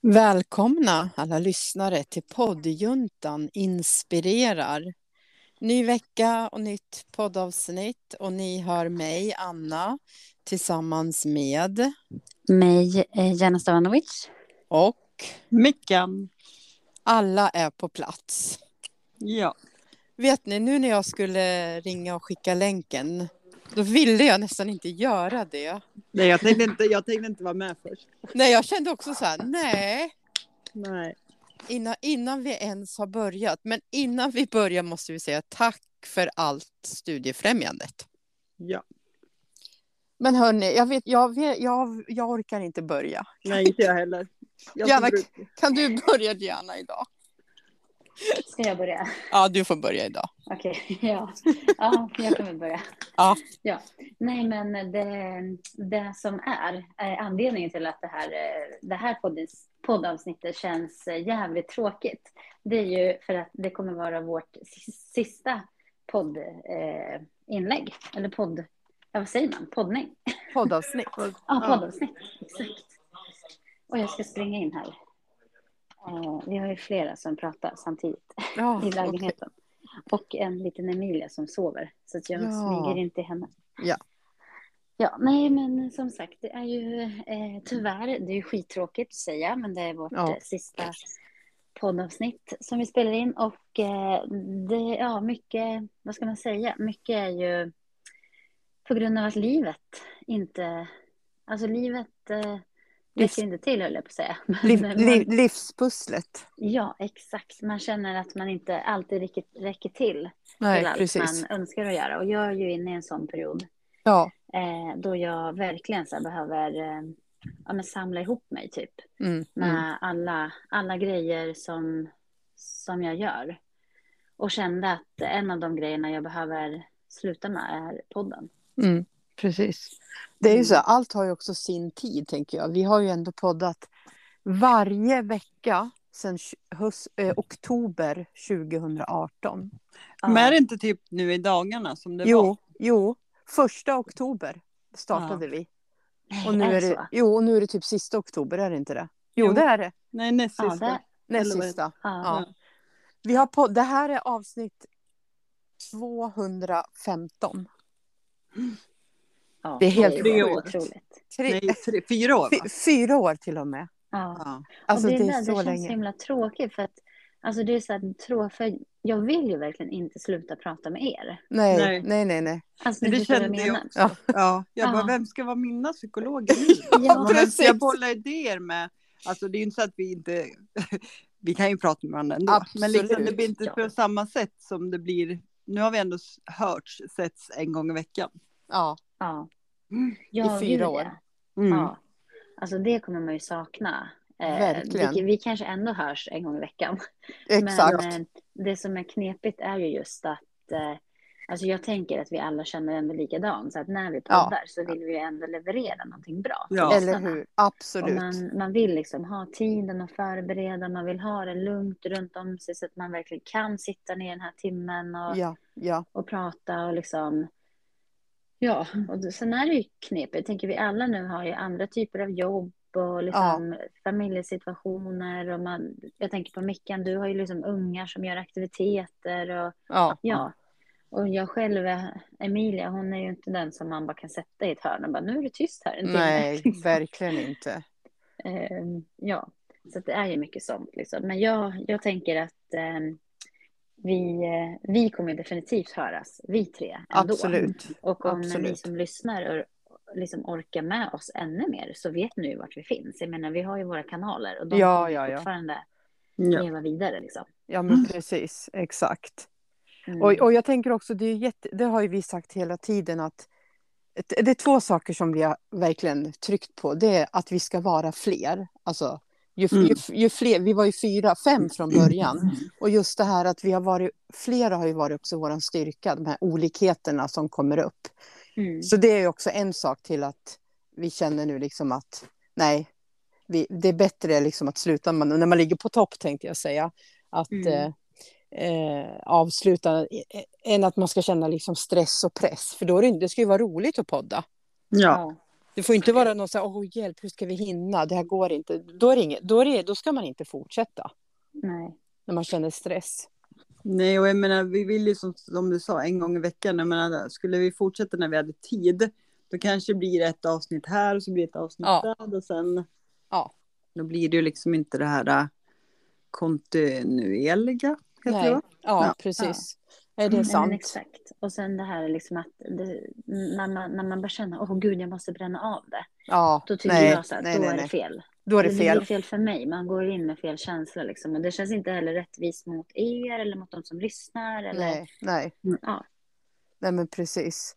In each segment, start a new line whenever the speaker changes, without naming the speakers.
Välkomna alla lyssnare till poddjuntan inspirerar. Ny vecka och nytt poddavsnitt och ni hör mig, Anna, tillsammans med
mig, eh, Jana Stavanovic.
och
Mickan.
alla är på plats.
Ja.
Vet ni, nu när jag skulle ringa och skicka länken, då ville jag nästan inte göra det.
Nej, jag tänkte inte, jag tänkte inte vara med först.
Nej, jag kände också så här, nej,
Nej.
innan, innan vi ens har börjat. Men innan vi börjar måste vi säga tack för allt studiefrämjandet.
Ja.
Men hörni, jag, vet, jag, vet, jag, jag orkar inte börja.
Nej, inte jag heller. Jag
Gärna-
tror-
Kan du börja Diana idag?
Ska jag börja?
Ja, du får börja idag.
Okej, ja. ja. Jag kommer börja.
Ja.
ja. Nej, men det, det som är, eh, anledningen till att det här, eh, det här poddis, poddavsnittet känns eh, jävligt tråkigt, det är ju för att det kommer vara vårt si- sista poddinlägg, eh, inlägg. eller podd, ja, vad säger man, poddning?
Poddavsnitt.
Ja,
Ja.
poddavsnitt. Exakt. Och jag ska springa in här. Eh, vi har ju flera som pratar samtidigt
Ja,
i
okej.
lägenheten. Och en liten Emilia som sover, så att jag
Ja.
smyger in till henne.
Ja.
Ja, nej men som sagt, det är ju eh, tyvärr, det är ju skittråkigt att säga, men det är vårt
Ja.
eh, sista poddavsnitt som vi spelar in och eh, det, ja, mycket, vad ska man säga, mycket är ju på grund av att livet inte, alltså livet eh,
Livs-
räcker inte till höll jag på att säga.
Liv,
Men-
liv, livspusslet.
Ja, exakt. Man känner att man inte alltid räcker, räcker till till
Nej,
allt
precis.
man önskar att göra. Och jag är ju inne i en sån period
Ja,
eh, då jag verkligen så här, behöver eh, ja, men samla ihop mig typ
mm,
med
mm.
alla, alla grejer som, som jag gör. Och kände att en av de grejerna jag behöver sluta med är podden.
Mm, precis. Det är ju så, här, allt har ju också sin tid tänker jag. Vi har ju ändå poddat varje vecka sedan tj- höst, eh, oktober 2018.
Men är det inte typ nu i dagarna som det
Jo,
var?
jo, första oktober startade vi.
Nej,
Och nu
är
är
det så?
det, jo, och nu är det typ sista oktober, är det inte det? Jo,
Jo.
det är det.
Nej, näst
Ja,
sista.
det-
Näst
Eller vad-
sista.
Ja.
Ja. Vi har på, det här är avsnitt 215.
Ja,
Det är helt
ju
sjukt.
otroligt.
Tre,
Nej, tre, fyra år va?
fy- fyra år till och med.
Ja.
Ja.
Alltså
och
det,
det,
är
där,
så
det känns så
länge.
himla tråkigt för att alltså det är så här, trå, för jag vill ju verkligen inte sluta prata med er.
Nej,
Nej.
nej, nej, nej.
Alltså,
Men
ni
det
förstår vad
kände
menar.
Ja.
ja. Jag bara,
Ja.
vem ska vara mina psykologer nu?
Ja,
Och Vem
precis.
ska jag bolla idéer med? Alltså det är ju inte så att vi inte... Vi kan ju prata med varandra ändå. Men liksom, det
Absolut.
blir inte på samma sätt som det blir... Nu har vi ändå s- hörts, setts en gång i veckan.
Ja,
Ja.
Mm.
Ja,
fyra
gud, ja.
år.
Mm.
Ja. Alltså det kommer man ju sakna. Eh,
Verkligen.
Vi, vi kanske ändå hörs en gång i veckan.
exakt.
Men eh, det som är knepigt är ju just att eh, Alltså jag tänker att vi alla känner ändå likadant, så att när vi
Ja.
poddar så vill vi ju ändå leverera någonting bra. till
Ja.
Eller
lyssnarna.
hur?
Och
Absolut.
man, man vill liksom ha tiden att förbereda, man vill ha det lugnt runt om sig så att man verkligen kan sitta ner den här timmen och,
Ja, ja.
och prata och liksom... Ja, och det- sen är det ju knepigt. Jag tänker vi alla nu har ju andra typer av jobb och liksom familjesituationer och man... Jag tänker på Mickan, du har ju liksom ungar som gör aktiviteter och
ja.
ja. Och jag själv, Emilia, hon är ju inte den som man bara kan sätta i ett hörn och bara nu är det tyst här en timme.
Nej,
liksom.
verkligen inte.
Ehm, ja, så att det är ju mycket sånt. Liksom. Men jag, jag tänker att ehm, vi, eh, vi kommer definitivt höras, vi tre. Ändå.
Absolut.
Och om ni
absolut.
som lyssnar or, liksom orkar med oss ännu mer så vet ni ju vart vi finns. Jag menar, vi har ju våra kanaler och de
Ja,
kommer ju
ja, ja.
fortfarande
Ja.
leva vidare. Liksom.
Ja, men precis. Exakt.
Mm.
Och, och jag tänker också, det, är ju jätte, det har ju vi sagt hela tiden att det är två saker som vi har verkligen tryckt på. Det är att vi ska vara fler. Alltså, ju,
Mm.
ju, ju fler, vi var ju fyra, fem från
Mm.
början. Och just det här att vi har varit, flera har ju varit också vår styrka, de här olikheterna som kommer upp.
Mm.
Så det är ju också en sak till att vi känner nu liksom att nej, vi, det är bättre liksom att sluta, man, när man ligger på topp tänkte jag säga, att
Mm.
eh, eh, avsluta eh, än att man ska känna liksom stress och press. För då är det, det ska ju vara roligt att podda.
Ja.
Ja.
Det får inte vara någon så här, åh hjälp, hur ska vi hinna? Det här går inte. Då, är det inget, då, är det, då ska man inte fortsätta
Nej.
när man känner stress.
Nej, och jag menar, vi vill ju som, som du sa, en gång i veckan. Jag menar, skulle vi fortsätta när vi hade tid, då kanske det blir ett avsnitt här och så blir det ett avsnitt
Ja.
där och sen...
Ja.
Då blir det ju liksom inte det här äh, kontinuerliga. heter
Nej.
det, va?
Ja,
Ja.
precis. Nej, det
Nej,
är
men
sant.
Exakt. Och sen det här liksom att det, när, man, när man börjar känna, åh gud, jag måste bränna av det.
Ja,
Då tycker jag så här, då är det fel.
Då är det
blir
fel.
fel för mig. Man går in med fel känsla liksom. Och det känns inte heller rättvist mot er eller mot de som lyssnar. Eller... Mm,
Nej, nej.
Ja.
nej, men precis.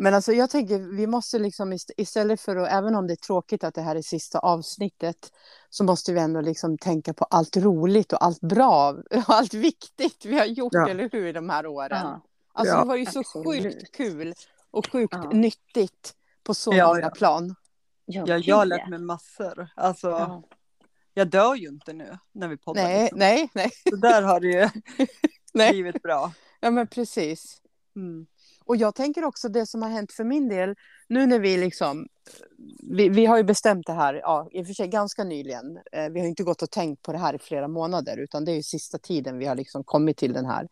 Men alltså jag tänker, vi måste liksom ist- istället för att, även om det är tråkigt att det här är sista avsnittet, så måste vi ändå liksom tänka på allt roligt och allt bra och allt viktigt vi har gjort,
Ja.
eller hur, de här åren.
Ja.
Alltså
Ja,
det var ju så
absolut.
sjukt kul och sjukt
Ja.
nyttigt på så
Ja,
många
ja.
plan.
Jag,
Ja, jag har lärt mig massor. Alltså,
Ja.
jag dör ju inte nu när vi poddar.
Nej,
liksom.
nej, nej.
Så där har det ju
Nej.
blivit bra.
Ja, men precis.
Mm.
Och jag tänker också det som har hänt för min del, nu när vi liksom, vi, vi har ju bestämt det här, ja, i och för sig ganska nyligen, eh, vi har ju inte gått och tänkt på det här i flera månader, utan det är ju sista tiden vi har liksom kommit till den här.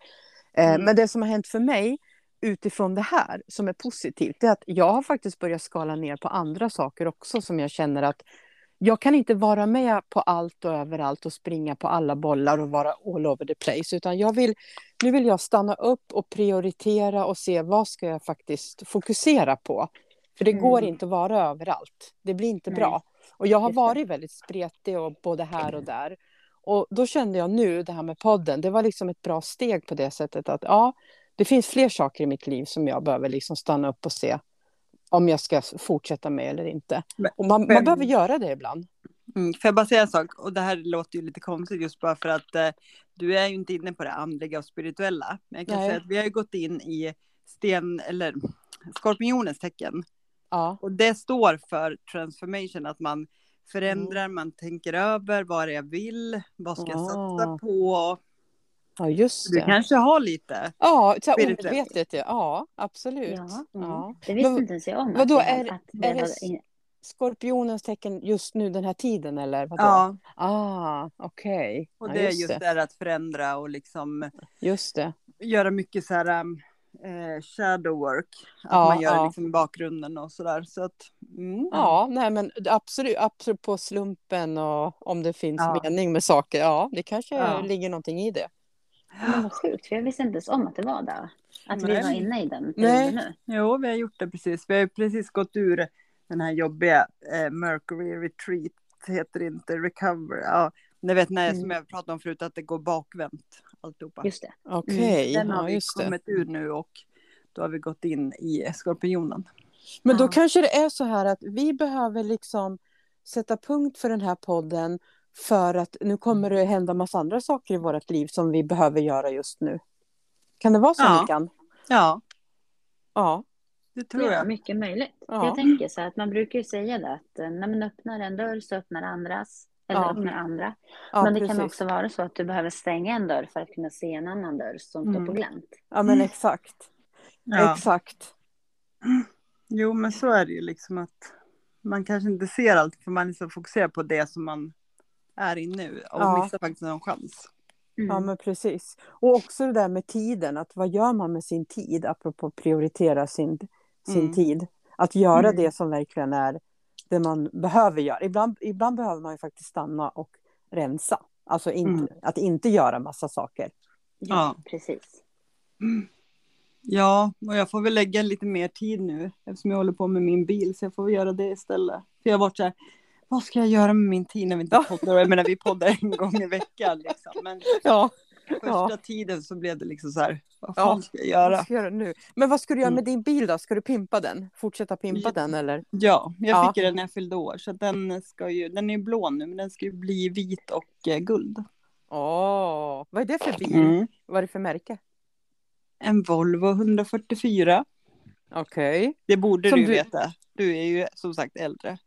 Eh,
Mm.
Men det som har hänt för mig utifrån det här som är positivt, det är att jag har faktiskt börjat skala ner på andra saker också som jag känner att jag kan inte vara med på allt och överallt och springa på alla bollar och vara all over the place, utan jag vill nu vill jag stanna upp och prioritera och se vad ska jag faktiskt fokusera på. För det
Mm.
går inte att vara överallt. Det blir inte
Nej.
bra. Och jag har
Just det.
varit väldigt spretig och både här och där. Och då kände jag nu, det här med podden, det var liksom ett bra steg på det sättet att ja, det finns fler saker i mitt liv som jag behöver liksom stanna upp och se om jag ska fortsätta med eller inte.
Men-
Och man, man
men-
behöver göra det ibland.
Mm. Får jag bara säga en sak? Och det här låter ju lite konstigt just bara för att eh, du är ju inte inne på det andliga och spirituella. Men jag kan
Nej.
säga att vi har ju gått in i sten eller skorpionens tecken.
Ja,
Och det står för transformation, att man förändrar,
Mm.
man tänker över vad det är jag vill, vad ska jag
Ah.
satsa på.
ja just
Du
det.
kanske har lite.
Ja, så här
Spirituellt.
omedvetet. ja. Ja, absolut.
Ja. Mm.
Ja.
Det visste
Men-
inte ens jag om. att
vadå,
jag-
är-
att det
är det
var
s-
in-
Skorpionens tecken just nu den här tiden eller vadå?
Ja,
Ah, okej.
och
Ja,
det är
just
just det
det.
där att förändra och liksom
Just det.
göra mycket så här eh, shadow work. Att
Ja,
man gör
ja.
liksom i bakgrunden och sådär. Så att, mm.
Ja, nej men absolut, absolut på slumpen och om det finns
Ja.
mening med saker. Ja, det kanske
Ja.
ligger någonting i det.
Men vad sjukt, för jag visste inte ens om att det var där. Att vi
Nej.
var inne i den
Nej.
perioden nu.
Jo, vi har gjort det precis. Vi har ju precis gått ur den här jobbiga eh, Mercury Retreat, heter det inte, Recover. Ja, ni vet när,
Mm.
som jag pratade om förut, att det går bakvänt alltihopa.
Just det.
Okej,
Mm, Den har
ja,
vi
just det.
kommit ur nu och då har vi gått in i skorpionen.
Men då
Ja.
kanske det är så här att vi behöver liksom sätta punkt för den här podden för att nu kommer
Mm.
det hända massa andra saker i vårt liv som vi behöver göra just nu. Kan det vara så,
Ja.
Mickan?
Ja,
Ja.
det tror
Ja,
jag.
mycket möjligt.
Ja.
Jag tänker så här att man brukar ju säga det att eh, när man öppnar en dörr så öppnar andras. Eller
Ja.
öppnar andra.
ja
men det
precis.
kan också vara så att du behöver stänga en dörr för att kunna se en annan dörr som står
Mm.
på glänt.
Ja, men exakt.
Ja.
Exakt.
Jo, men så är det ju liksom att man kanske inte ser allt för man är så fokuserad på det som man är i nu och
Ja.
missar faktiskt någon chans.
Mm.
Ja, men precis. Och också det där med tiden, att vad gör man med sin tid, apropå prioritera sin, sin
Mm.
tid. Att göra
Mm.
det som verkligen är det man behöver göra. Ibland, ibland behöver man ju faktiskt stanna och rensa. Alltså inte,
Mm.
att inte göra massa saker.
ja,
Ja.
precis.
Ja, och jag får väl lägga lite mer tid nu eftersom jag håller på med min bil så jag får väl göra det istället. För jag har varit så här, vad ska jag göra med min tid när vi inte poddar? Och Jag menar vi poddar en gång i veckan liksom. Men
Ja,
första
Ja.
tiden så blev det liksom så här, vad
Ja.
fan ska jag
vad
göra?
ska jag göra nu? Men vad ska du göra med
Mm.
din bil då? Ska du pimpa den? Fortsätta pimpa den eller?
Ja, jag
Ja.
fick ju den när jag fyllde år så att den ska ju, den är ju blå nu men den ska ju bli vit och eh, guld.
Åh, vad är det för bil? Vad är det för märke?
En Volvo 144.
Okej.
Det borde
Som
du ju
du-
veta. Du är ju som sagt äldre.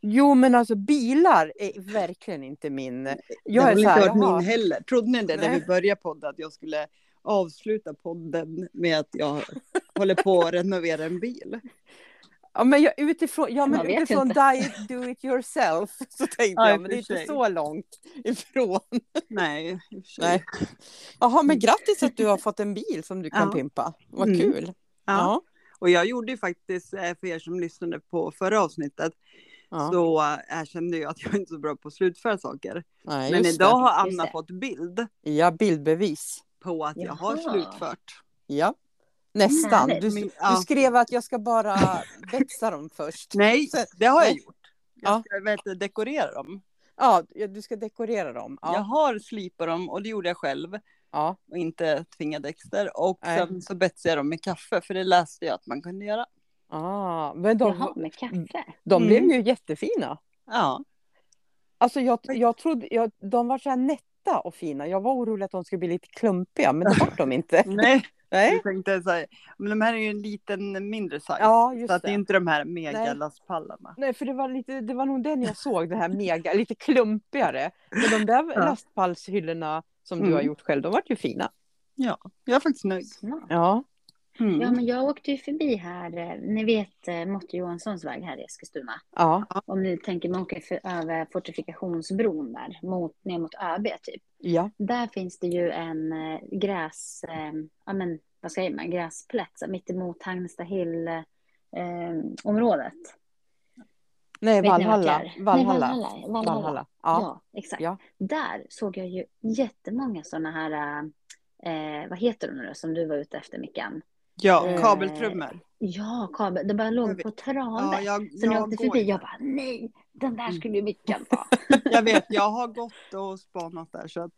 Jo, men alltså bilar är verkligen inte min... Jag
det
är
har väl
så
inte
här,
varit
jaha.
min heller. Trodde ni det när
Nej.
vi började podden att jag skulle avsluta podden med att jag håller på att renovera en bil?
Ja, men jag, utifrån, ja,
Man
men
vet ju
utifrån
inte.
diet do it yourself så tänkte
Ja, i
jag,
och
men det är
för
inte
sig.
så långt ifrån.
Nej, i och för sig.
Nej. Jaha, men grattis att du har fått en bil som du kan
Ja.
pimpa. Vad
Mm.
kul.
Ja. Och jag gjorde ju faktiskt, eh, för er som lyssnade på förra avsnittet,
ja.
så eh, erkände jag att jag inte är så bra på att slutföra saker.
Nej,
Men
just
idag har
Just
Anna
det.
fått bild
det. Ja, bildbevis.
på att jag har
Jaha.
slutfört.
Ja, nästan.
Härligt.
Du,
Min-
du
ja.
skrev att jag ska bara växa dem först.
Nej,
Så-
det har jag
Nej.
gjort. Jag
Ja.
ska vet, du, dekorera dem.
Ja, du ska dekorera dem. Ja,
Jag har slipat dem och det gjorde jag själv
ja.
och inte tvingade Dexter. Och
Nej.
sen så betsade jag dem med kaffe för det läste jag att man kunde göra.
Ah, men
Jaha,
de,
med kaffe.
de
Mm.
blev ju jättefina.
Ja,
Alltså jag, jag trodde, jag, de var så här nätta och fina. Jag var orolig att de skulle bli lite klumpiga, men det var de inte.
nej,
Nej.
jag tänkte så här, men de här är ju en liten mindre size.
Ja,
så
just
att det är
det.
inte de här
Nej.
megalastpallarna.
Nej, för det var, lite, det var nog den jag såg, den här mega, lite klumpigare. Men de där
Ja.
lastpallshyllorna som du
Mm.
har gjort själv, de var ju fina.
Jag är faktiskt nöjd.
Smart.
Ja.
Mm.
Ja, men jag åkte ju förbi här, eh, ni vet eh, Motte Johanssons väg här i Eskilstuna.
Ja,
Om ni tänker, man åker för, över fortifikationsbron där, mot, ner mot ÖB typ.
ja,
Där finns det ju en eh, gräs, eh, ja men vad säger man, gräsplätt så, mittemot Hagnesta Hill eh, området.
nej,
Vet ni vart det
Valhalla.
är? Nej,
Valhalla.
Valhalla. Valhalla.
Valhalla.
Ja,
Ja.
exakt.
Ja.
Där såg jag ju jättemånga sådana här, eh, vad heter de nu då, som du var ute efter Mickan?
Ja,
Eh,
kabeltrummor.
Ja, kabel, de bara
Jag
låg
vet.
på trave.
Ja, jag,
Så när jag
jag,
åkte
går,
förbi, jag bara nej, den där skulle ju Mickan ta.
jag vet, jag har gått och spanat där. Så att,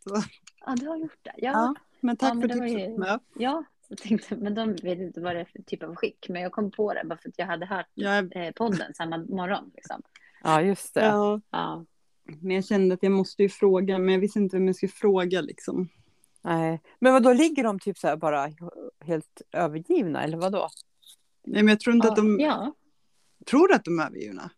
Ja, du har gjort det.
ja.
Ja,
Men tack
men
för
det var ju-
tipset. Ju...
ja. Jag tänkte, men de vet inte vad det är för typ av skick. Men jag kom på det bara för att jag hade hört
Jag,
eh, podden samma morgon. Liksom.
ja, just det.
ja,
Ja.
men jag kände att jag måste ju fråga, men jag visste inte vem jag skulle fråga liksom.
Nej. Men vad då ligger de typ så här bara helt övergivna, eller vad då?
Nej, men jag tror inte
Ja,
att de,
ja.
tror att de är övergivna.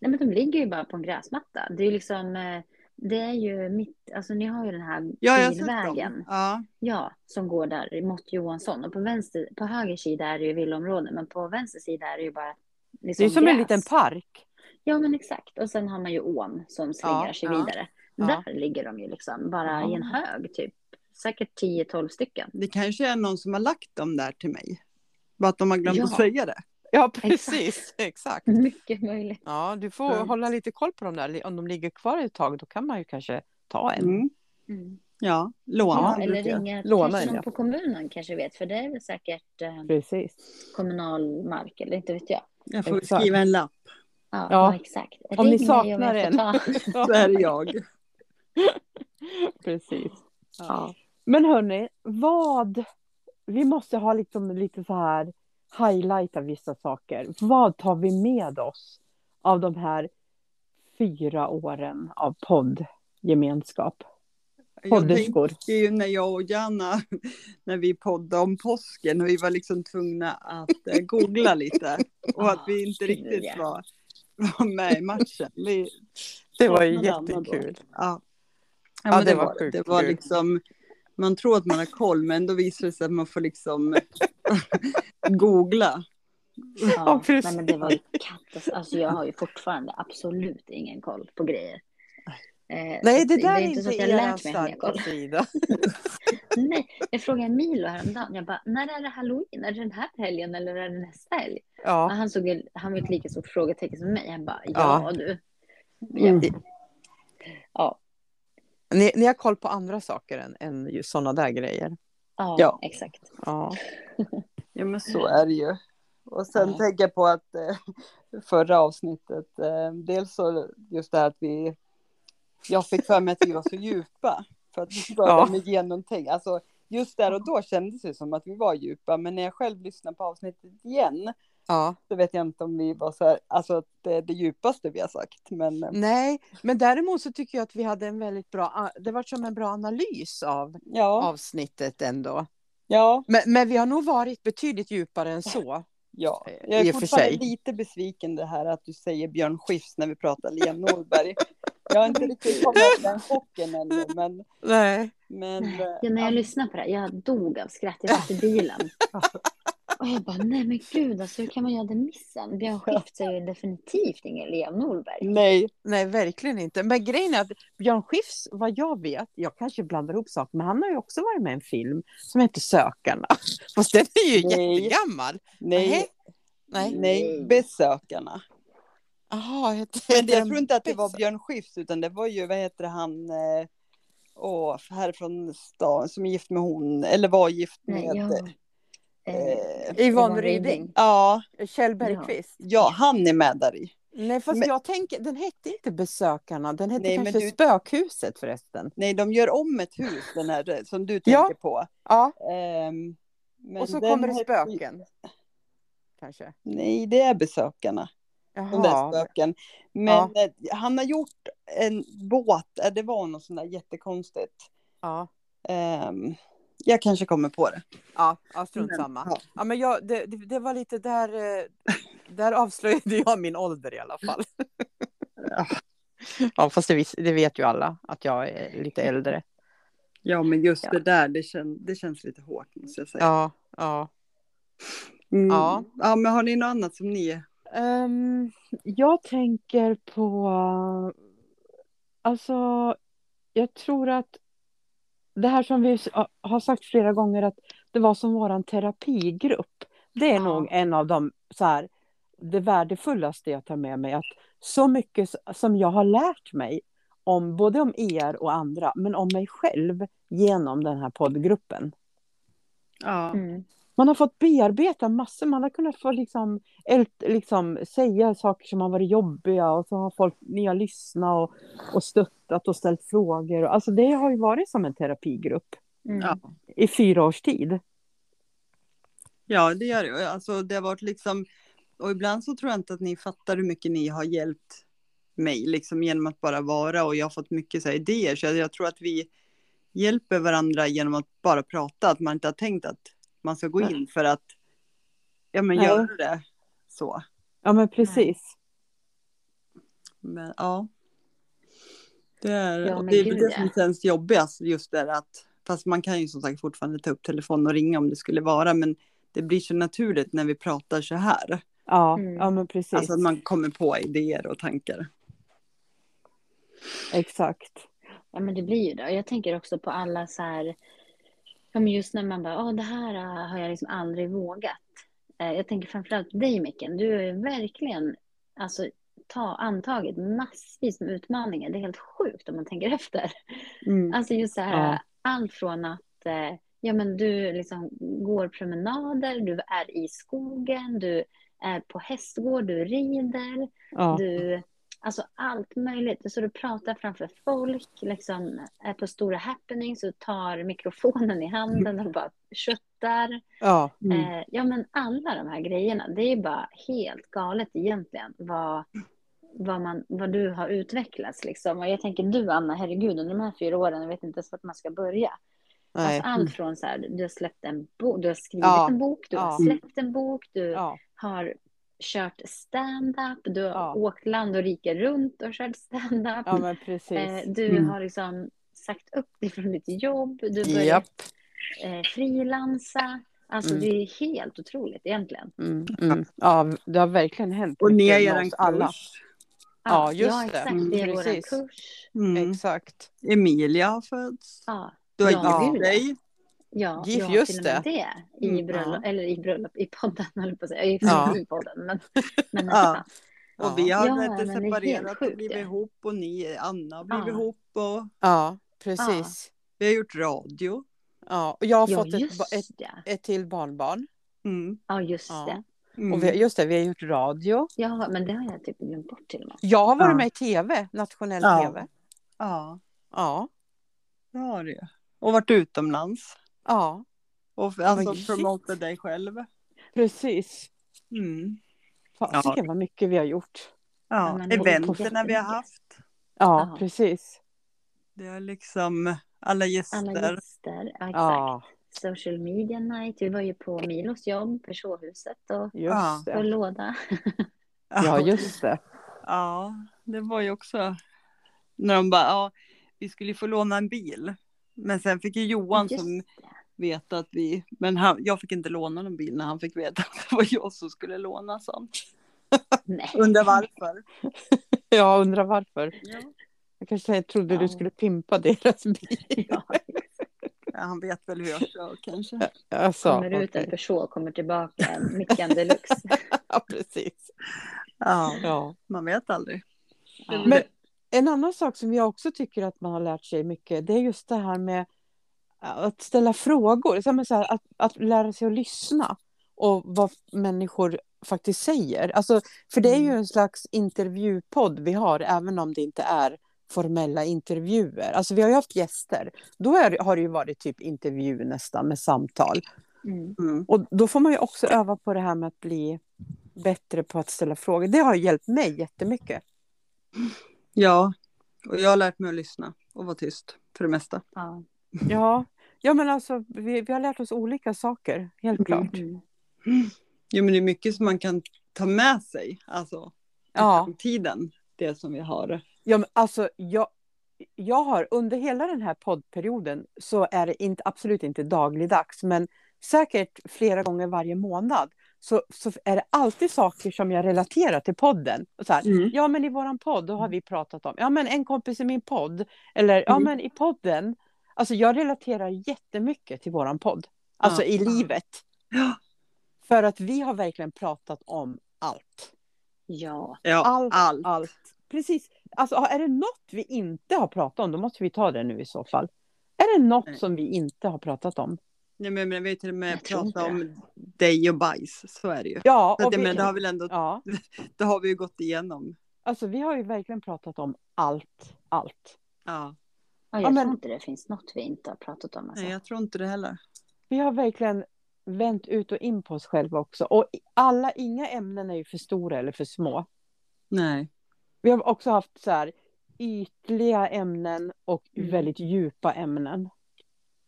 Nej, men de ligger ju bara på en gräsmatta. Det är ju liksom, eh, det är ju mitt, alltså ni har ju den här
Ja, jag har sett dem.
bilvägen.
Ja,
Ja, som går där mot Johansson. Och på, vänster, på höger sida är det ju villaområden, men på vänster sida är det ju bara
Det
liksom
är som en
gräs.
liten park.
Ja, men exakt. Och sen har man ju ån som slingrar sig
ja,
vidare.
ja.
Där ligger de ju liksom bara i en
Ja.
hög, typ. Säkert 10-12 stycken.
det kanske är någon som har lagt dem där till mig. Bara att de har glömt
Ja.
att säga det.
Ja, precis. Exakt.
Mycket möjligt.
Ja, du får
Mm.
hålla lite koll på dem där. Om de ligger kvar ett tag, då kan man ju kanske ta en.
Mm.
Mm.
Ja, låna.
Ja,
brukar
eller
jag.
ringa
Låna
kanske
en,
någon
ja.
på kommunen kanske vet, för det är väl säkert eh,
Precis.
kommunal mark, eller inte vet jag.
Jag får
Exakt.
skriva en lapp.
Ja,
Ja.
ja. exakt.
Om ni
Ring mig
saknar
jag
en.
får ta.
Så är det jag.
Precis.
Ja.
Men hörni, vad... Vi måste ha liksom lite så här highlight av vissa saker. Vad tar vi med oss av de här fyra åren av poddgemenskap?
Jag tänker
Podderskor.
ju när jag och Janna, när vi poddade om påsken och vi var liksom tvungna att eh, googla lite. Och att vi inte
Ah,
riktigt
ja.
var, var med i matchen. Vi,
Det var ju
saknade Anna då.
jättekul.
Ja. Ja,
Ja,
men
det
det
var
var det.
sjukt
Det var
kul.
liksom, man tror att man har koll, men då visar det sig att man får liksom googla.
Ja,
Ja.
precis.
Nej, men det var ju katastrof. Alltså, jag har ju fortfarande absolut ingen koll på grejer. Eh,
Nej,
så
det
att
där är
så
inte
att jag har
er
lärt mig att hänga
starka
koll.
sida.
Nej, jag frågade Milo häromdagen. Jag bara, när är det halloween? Är det den här helgen eller är det nästa helg? Och
Ja.
Han, såg, ju- han var ett lika stort frågetecken som mig. Han bara, ja,
Ja.
du.
Mm.
Ja. Ja,
Ni, ni har koll på andra saker än, än just sådana där grejer.
ja,
Ja.
exakt.
Ja.
Ja, men så är det ju. Och sen
Mm. Ja.
tänker jag på att eh, förra avsnittet, eh, dels så just det här att vi, jag fick för mig att vi var så djupa, för att vi
Ja.
började med genomtänk. Alltså, just där och då kändes det som att vi var djupa, men när jag själv lyssnar på avsnittet igen,
ja.
så vet jag inte om vi var så här, alltså att det är det djupaste vi har sagt, men eh,
Nej, men däremot så tycker jag att vi hade en väldigt bra... Det var som en bra analys av
ja,
avsnittet ändå.
ja,
Men, men vi har nog varit betydligt djupare än så.
ja.
Eh,
Jag
i
är
och för sig.
fortfarande lite besviken det här att du säger Björn Skifs när vi pratar Liam Norberg. Jag har inte riktigt kommit över den chocken ännu, men
Nej.
Men,
Nej,
eh,
ja, när jag lyssnade på det, här, jag dog av skratt. Jag satt i bilen. Och jag bara, nej men gud alltså, hur kan man göra den missen? Björn Skifs är ju definitivt ingen Lea Norberg.
Mm.
Nej.
Nej, verkligen inte. Men grejen är att Björn Skifs, vad jag vet, jag kanske blandar ihop saker, men han har ju också varit med i en film som heter Sökarna. Fast den är ju
Nej.
jättegammal.
Nej.
Nej. Nej.
Nej. Besökarna.
Jaha, heter
Men
heter
jag
den
tror inte att det var
Besök-
Björn Skifs utan det var ju, vad heter han, eh, åh, här från stan som är gift med hon, eller var gift med.
Nej, jag... Eh,
eh,
Yvonne
Yvonne
Ryding.
Ryding.
ja,
Kjell Bergqvist.
ja, han är med där i.
Nej, fast
Men-
jag tänker, den hette inte Besökarna, den hette
Nej, men
kanske
du-
Spökhuset förresten.
Nej, de gör om ett hus, den här som du
Ja.
tänker på.
Ja,
Ehm, men
och så
den
kommer det
heter ju-
spöken. Kanske.
Nej, det är besökarna. De där
Jaha.
spöken. Men eh, han har gjort en båt, eh, det var något sånt där jättekonstigt.
Ja,
Ehm, jag kanske kommer på det.
ja, ja strunt
Men,
samma.
ja.
Ja, men jag, det, det det var lite där, eh, där avslöjade jag min ålder i alla fall. Ja, fast det, vis- det vet ju alla att jag är lite äldre.
Ja, men just
Ja.
det där, det, kän, det känns lite hårt måste jag säga.
Ja, ja.
Mm.
Ja.
ja, men har ni något annat som ni...
Ehm, jag tänker på... Alltså, jag tror att det här som vi s- har sagt flera gånger att det var som vår terapigrupp. Det är
Ja.
nog en av de så här, det värdefullaste jag tar med mig. Att så mycket s- som jag har lärt mig, om, både om er och andra, men om mig själv genom den här poddgruppen.
Ja.
mm.
Man har fått bearbeta massor, man har kunnat få liksom, ält, liksom säga saker som har varit jobbiga och så har folk, ni har lyssnat och, och stöttat och ställt frågor. Alltså det har ju varit som en terapigrupp
Mm.
Ja.
i fyra års tid.
ja, det gör det. Och Alltså, det har varit liksom... Och ibland så tror jag inte att ni fattar hur mycket ni har hjälpt mig, liksom genom att bara vara. Och jag har fått mycket så här, idéer, så jag, jag tror att vi hjälper varandra genom att bara prata, att man inte har tänkt att man ska gå
Nej.
in för att ja, men
Nej.
göra det så.
Ja men precis.
Men ja. Det är,
Ja,
och
men
det, är
gud,
det
ja.
som känns jobbigast just där att, fast man kan ju som sagt fortfarande ta upp telefon och ringa om det skulle vara, men det blir så naturligt när vi pratar så här.
Ja,
Mm.
ja men precis.
Alltså att man kommer på idéer och tankar.
Exakt.
Ja, men det blir ju det. Och Jag tänker också på alla så här, ja, men just när man bara, "Åh, det här eh, har jag liksom aldrig vågat. Eh, Jag tänker framförallt på dig Micken, du har ju verkligen alltså, ta, antagit massvis med utmaningar. Det är helt sjukt om man tänker efter. Alltså just så här,
Ja.
allt från att eh, ja, men du liksom går promenader, du är i skogen, du är på hästgård, du rider.
Ja.
Mm.
Du, alltså allt möjligt. Så du pratar framför folk, liksom är på stora happenings och tar mikrofonen i handen och bara köttar.
Ja.
Mm.
Eh, ja, men alla de här grejerna, det är ju bara helt galet egentligen vad, vad, man, vad du har utvecklats liksom. Och jag tänker du Anna, herregud, under de här fyra åren, jag vet inte ens vart man ska börja.
Nej. Mm.
Alltså allt från så här, du har släppt en bok, du har skrivit
Ja.
en bok, du har
Ja.
släppt en bok, du
Ja.
har kört stand-up, du har
Ja.
åkt land och rike runt och kört stand-up.
ja men
eh,
precis.
du
Mm.
har liksom sagt upp dig från ditt jobb, du har
Japp.
börjat eh, frilansa. Alltså
Mm.
det är helt otroligt egentligen.
Mm, mm. Ja, det har verkligen hänt
Och ni
mycket
har
med
er
oss alla.
kurs.
Ja, just
ja,
det.
exakt.
Mm,
Det är vår
precis.
kurs.
Mm.
Exakt.
Emilia har fötts.
Ja,
Du har
Ja,
det
gift
är
det.
dig.
ja
Gift,
jag har
just
till och med det, i
Mm,
bröllop,
ja.
eller i bröllop, i podden höll jag på att säga. Jag är
Ja.
i podden, men, men alltså,
Ja.
nästan.
Och
Ja.
vi har
Ja,
varit
men det är helt
separerat
sjukt,
och blivit
ja.
ihop. Och ni, Anna, har blivit
Ja.
ihop. Och
Ja, precis.
vi har gjort radio.
Ja. Och jag har
Ja,
fått ett, ba-
just
ett,
det.
ett eh, till barnbarn.
Mm.
Ja, just
Ja.
det.
Mm.
Och vi, just det, vi har gjort radio.
Ja, men det har jag typ glömt bort till och med.
Jag har varit
Ja.
med i tv, nationell
Ja.
tv.
Ja,
Ja.
det har du ju. Och varit utomlands.
ja,
Och alltså
shit.
promotat dig själv.
precis.
Mm.
Fasiken vad mycket vi har gjort.
Ja,
Ja,
men det är
eventerna vi har
jättemycket.
haft.
Ja,
Ja.
precis.
Det är liksom alla gäster.
Alla gäster, ja, exakt.
Ja,
Social media night. Vi var ju på Milos jobb för showhuset och
just
på
det.
låda.
Ja, just det.
Ja, det var ju också när de bara, ja, vi skulle ju få låna en bil. Men sen fick ju Johan
Just
som
det.
veta att vi, men han, jag fick inte låna någon bil när han fick veta att det var jag som skulle låna sånt.
Nej.
Undrar varför.
Jag undrar varför.
Ja.
Jag kanske säger, trodde
Ja.
du skulle pimpa deras bil.
Ja,
Han vet väl hur jag kör kanske.
Alltså,
kommer ut en
okej.
person kommer tillbaka, Mickan deluxe.
ja, precis.
Ja,
Ja.
man vet aldrig.
Ja.
Men en annan sak som jag också tycker att man har lärt sig mycket, det är just det här med att ställa frågor. Så här, men så här, att, att lära sig att lyssna och vad människor faktiskt säger. Alltså, för det är ju en slags intervjupodd vi har, även om det inte är formella intervjuer. Alltså vi har ju haft gäster. Då är, har det ju varit typ intervju nästan med samtal.
Mm.
Mm.
Och då får man ju också öva på det här med att bli bättre på att ställa frågor. Det har ju hjälpt mig jättemycket.
Ja, och jag har lärt mig att lyssna och vara tyst för det mesta.
Ja.
Ja, ja men alltså vi, vi har lärt oss olika saker, helt klart.
Mm.
Jo, men det är mycket som man kan ta med sig, alltså i
Ja,
framtiden, det som vi har.
ja men alltså jag, jag har under hela den här poddperioden så är det inte, absolut inte dagligdags, men säkert flera gånger varje månad så, så är det alltid saker som jag relaterar till podden. Och så här, Ja, men i våran podd, då har vi pratat om, ja men en kompis i min podd, eller ja
Mm.
men i podden. Alltså jag relaterar jättemycket till våran podd, alltså
Ja.
i livet.
Ja.
För att vi har verkligen pratat om allt.
ja.
Ja,
Allt,
allt.
allt. Precis, alltså är det något vi inte har pratat om, då måste vi ta det nu i så fall. Är det något
Nej.
som vi inte har pratat om?
Nej, men, men vi har ju till och med
Jag tror
pratat
inte
om dig och bajs, så är det ju.
Ja,
Så
och
det,
vi,
men det har, väl ändå,
ja,
det har vi ju gått igenom.
alltså vi har ju verkligen pratat om allt, allt.
Ja,
Ja, jag
Ja, men-
tror inte det finns något vi inte har pratat om. Alltså.
nej, jag tror inte det heller.
Vi har verkligen vänt ut och in på oss själva också. Och i- alla, inga ämnen är ju för stora eller för små.
Nej.
Vi har också haft så här ytliga ämnen och
Mm.
väldigt djupa ämnen.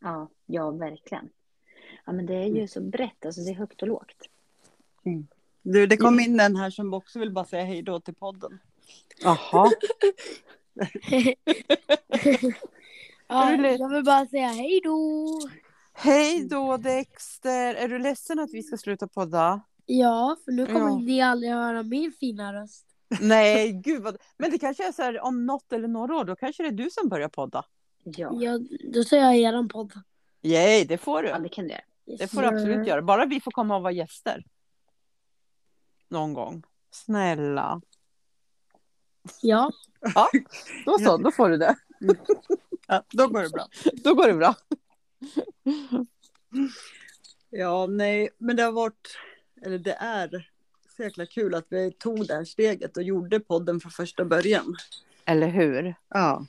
Ja, ja, verkligen. Ja, men det är ju så brett, alltså, det är högt och lågt.
Du, det kom in en här som också vill bara säga hej då till podden.
Jaha.
Ja,
Är du le-
jag vill bara säga hej då.
Hej då Dexter! Är du ledsen att vi ska sluta podda?
Ja, för nu kommer
Ja.
ni aldrig höra min fina röst.
Nej, gud vad... Men det kanske är så här om något eller några år, då kanske det är du som börjar podda.
Ja,
Ja, då säger jag eran podd.
Yay, det får
ja
du.
det kan du göra.
Det får du absolut göra. Bara vi får komma och vara gäster. Någon gång. Snälla.
Ja,
Då så, då får du det.
Ja, då går det bra.
Då går det bra.
Ja, nej, men det har varit, eller det är så jäkla kul att vi tog det här steget och gjorde podden från första början.
Eller hur?
Ja.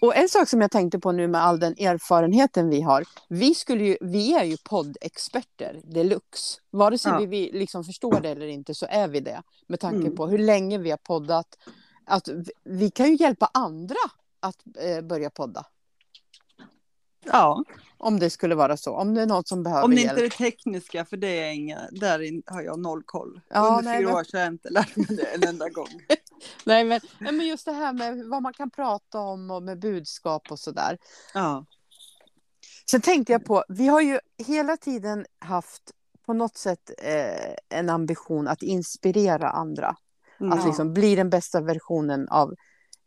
Och en sak som jag tänkte på nu med all den erfarenheten vi har. Vi, skulle ju, vi är ju poddexperter deluxe. Vare sig
Ja.
vi, vi liksom förstår det eller inte så är vi det. Med tanke
Mm.
på hur länge vi har poddat. Att vi- vi kan ju hjälpa andra att eh, börja podda.
ja.
Om det skulle vara så. Om det är något som behöver
Om ni
hjälp.
inte är tekniska, för det är inga, där in- har jag noll koll.
Ja,
Under
nej,
fyra
men-
år så har jag inte lärt mig det en enda gång.
Nej, men, nej, men just det här med vad man kan prata om och med budskap och sådär.
Ja.
Sen tänkte jag på, vi har ju hela tiden haft på något sätt eh, en ambition att inspirera andra.
Mm.
Att liksom bli den bästa versionen av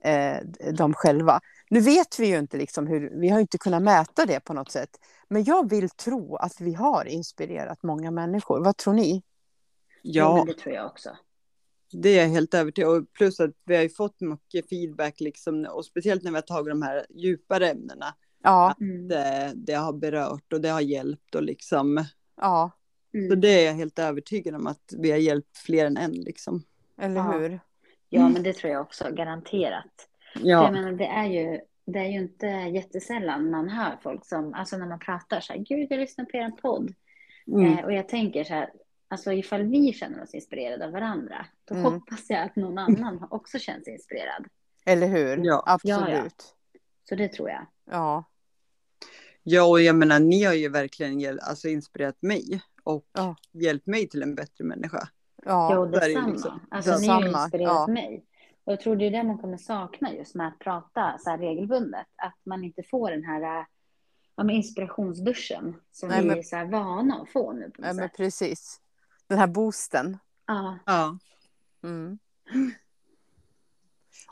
eh, dem själva. Nu vet vi ju inte liksom hur, vi har ju inte kunnat mäta det på något sätt. Men jag vill tro att vi har inspirerat många människor. Vad tror ni?
Ja,
ja,
men det tror jag också.
det är jag helt övertygad om. Och Plus att vi har ju fått mycket feedback, liksom, och speciellt när vi har tagit de här djupare ämnena.
Ja,
Mm.
Det, det har berört och det har hjälpt och liksom.
ja
Mm.
Så det är jag helt övertygad om att vi har hjälpt fler än en liksom.
eller
Ja.
hur?
Ja, men det tror jag också, garanterat. Jag
Ja.
menar, det är ju, det är ju inte jättesällan man hör folk som, alltså när man pratar så här, gud jag lyssnar på er podd.
Mm.
Eh, och jag tänker så här, alltså ifall vi känner oss inspirerade av varandra, då
Mm.
hoppas jag att någon annan också känns inspirerad.
Eller hur?
Ja.
Absolut.
Ja, Så det tror jag.
Ja,
ja, och jag menar ni har ju verkligen hjäl- alltså, inspirerat mig och
Ja.
hjälpt mig till en bättre människa.
ja.
jo,
så är det ju
detsamma.
liksom.
Alltså ni har ju
Detsamma,
inspirerat
ja.
mig. Och jag tror det är det man kommer sakna just med att prata så här regelbundet, att man inte får den här, äh, ja, men inspirationsduschen som
Nej,
vi
men-
är så här vana att få nu. På
Ja,
något
men
sätt.
precis. Den här boosten.
Ja,
Ja.
Mm.